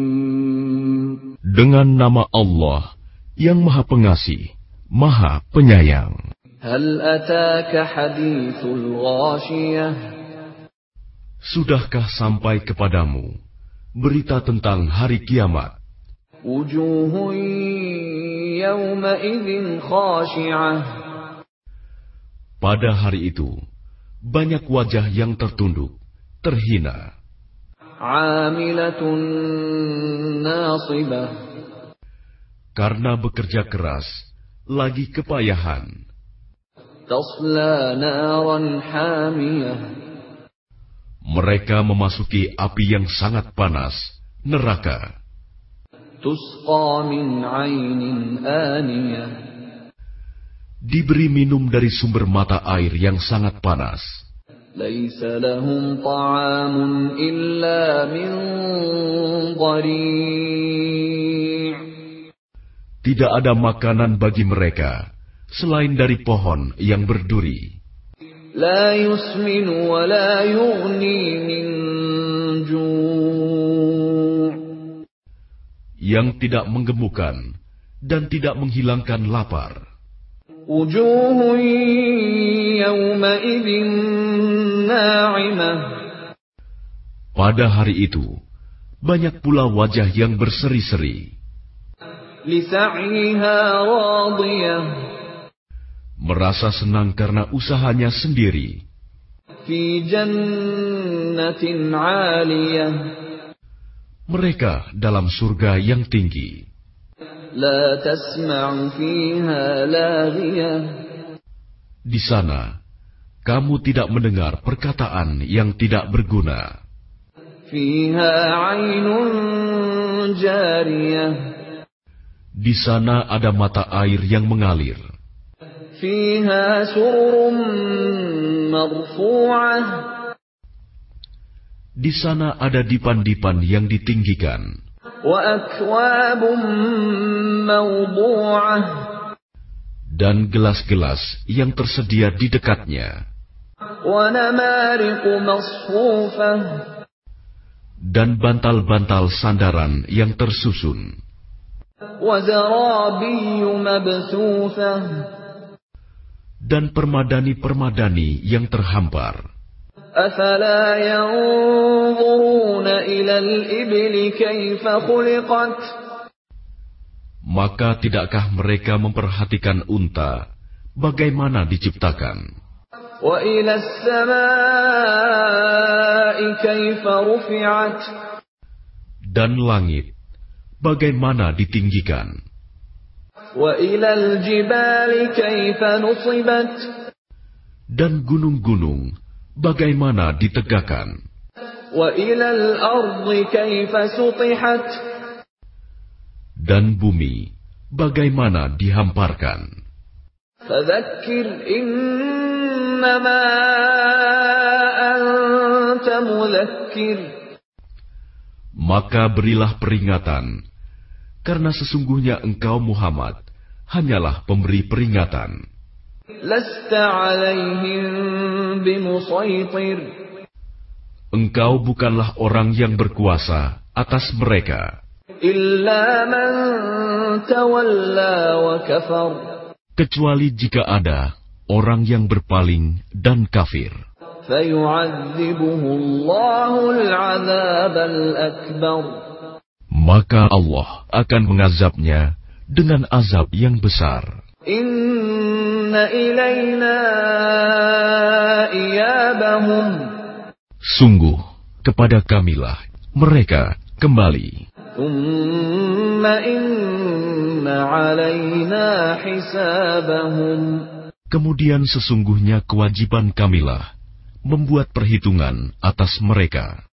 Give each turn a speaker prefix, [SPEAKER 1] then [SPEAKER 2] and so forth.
[SPEAKER 1] Bismillahirrahmanirrahim.
[SPEAKER 2] Dengan nama Allah yang Maha Pengasih, Maha Penyayang.
[SPEAKER 1] Hal ataka hadithul ghashiyah?
[SPEAKER 2] Sudahkah sampai kepadamu berita tentang hari kiamat?
[SPEAKER 1] Wujuhun yawma idhin khashi'ah.
[SPEAKER 2] Pada hari itu, banyak wajah yang tertunduk, terhina,
[SPEAKER 1] Amilatun nasibah.
[SPEAKER 2] karena bekerja keras, lagi kepayahan,
[SPEAKER 1] Tasla naran hamiyah.
[SPEAKER 2] mereka memasuki api yang sangat panas, neraka,
[SPEAKER 1] Tusqa min aynin aniyah.
[SPEAKER 2] diberi minum dari sumber mata air yang sangat panas,
[SPEAKER 1] ليس لهم طعام إلا من ضريع
[SPEAKER 2] tidak ada makanan bagi mereka selain dari pohon yang berduri,
[SPEAKER 1] لا يسمن ولا يغني من جوع
[SPEAKER 2] yang tidak menggemukkan dan tidak menghilangkan lapar.
[SPEAKER 1] وجوه يومئذ ناعمة
[SPEAKER 2] Pada hari itu, banyak pula wajah yang berseri-seri.
[SPEAKER 1] لسعيها راضية
[SPEAKER 2] merasa senang karena usahanya sendiri,
[SPEAKER 1] في جنة عالية
[SPEAKER 2] mereka dalam surga yang tinggi,
[SPEAKER 1] لا تسمع فيها لاغية
[SPEAKER 2] di sana kamu tidak mendengar perkataan yang tidak berguna.
[SPEAKER 1] فيها عين جارية
[SPEAKER 2] Di sana ada mata air yang mengalir,
[SPEAKER 1] فيها سرر مرفوعة
[SPEAKER 2] di sana ada dipan-dipan yang ditinggikan,
[SPEAKER 1] وأكواب موضوعة
[SPEAKER 2] dan gelas-gelas yang tersedia di dekatnya,
[SPEAKER 1] ونمارق مصفوفة
[SPEAKER 2] dan bantal-bantal sandaran yang tersusun,
[SPEAKER 1] وزرابي مبثوثة
[SPEAKER 2] dan permadani-permadani yang terhampar.
[SPEAKER 1] أفلا ينظرون إلى الإبل كيف خلقت
[SPEAKER 2] Maka tidakkah mereka memperhatikan unta bagaimana diciptakan
[SPEAKER 1] وإلى السماء كيف رفعت
[SPEAKER 2] dan langit bagaimana ditinggikan
[SPEAKER 1] وإلى الجبال كيف نصبت
[SPEAKER 2] dan gunung-gunung bagaimana ditegakkan
[SPEAKER 1] وإلى الأرض كيف سطحت
[SPEAKER 2] dan bumi bagaimana dihamparkan
[SPEAKER 1] فذكر إنما أنت مذكر
[SPEAKER 2] maka berilah peringatan karena sesungguhnya engkau Muhammad hanyalah pemberi peringatan
[SPEAKER 1] لست عليهم بمسيطر
[SPEAKER 2] engkau bukanlah orang yang berkuasa atas mereka
[SPEAKER 1] إلا من تولى وكفر
[SPEAKER 2] kecuali jika ada orang yang berpaling dan kafir,
[SPEAKER 1] فيعذبه الله العذاب الأكبر
[SPEAKER 2] maka Allah akan mengazabnya dengan azab yang besar.
[SPEAKER 1] إن إلينا إيابهم
[SPEAKER 2] Sungguh, kepada kamilah mereka kembali,
[SPEAKER 1] ثم إن علينا حسابهم
[SPEAKER 2] kemudian sesungguhnya kewajiban kamilah membuat perhitungan atas mereka.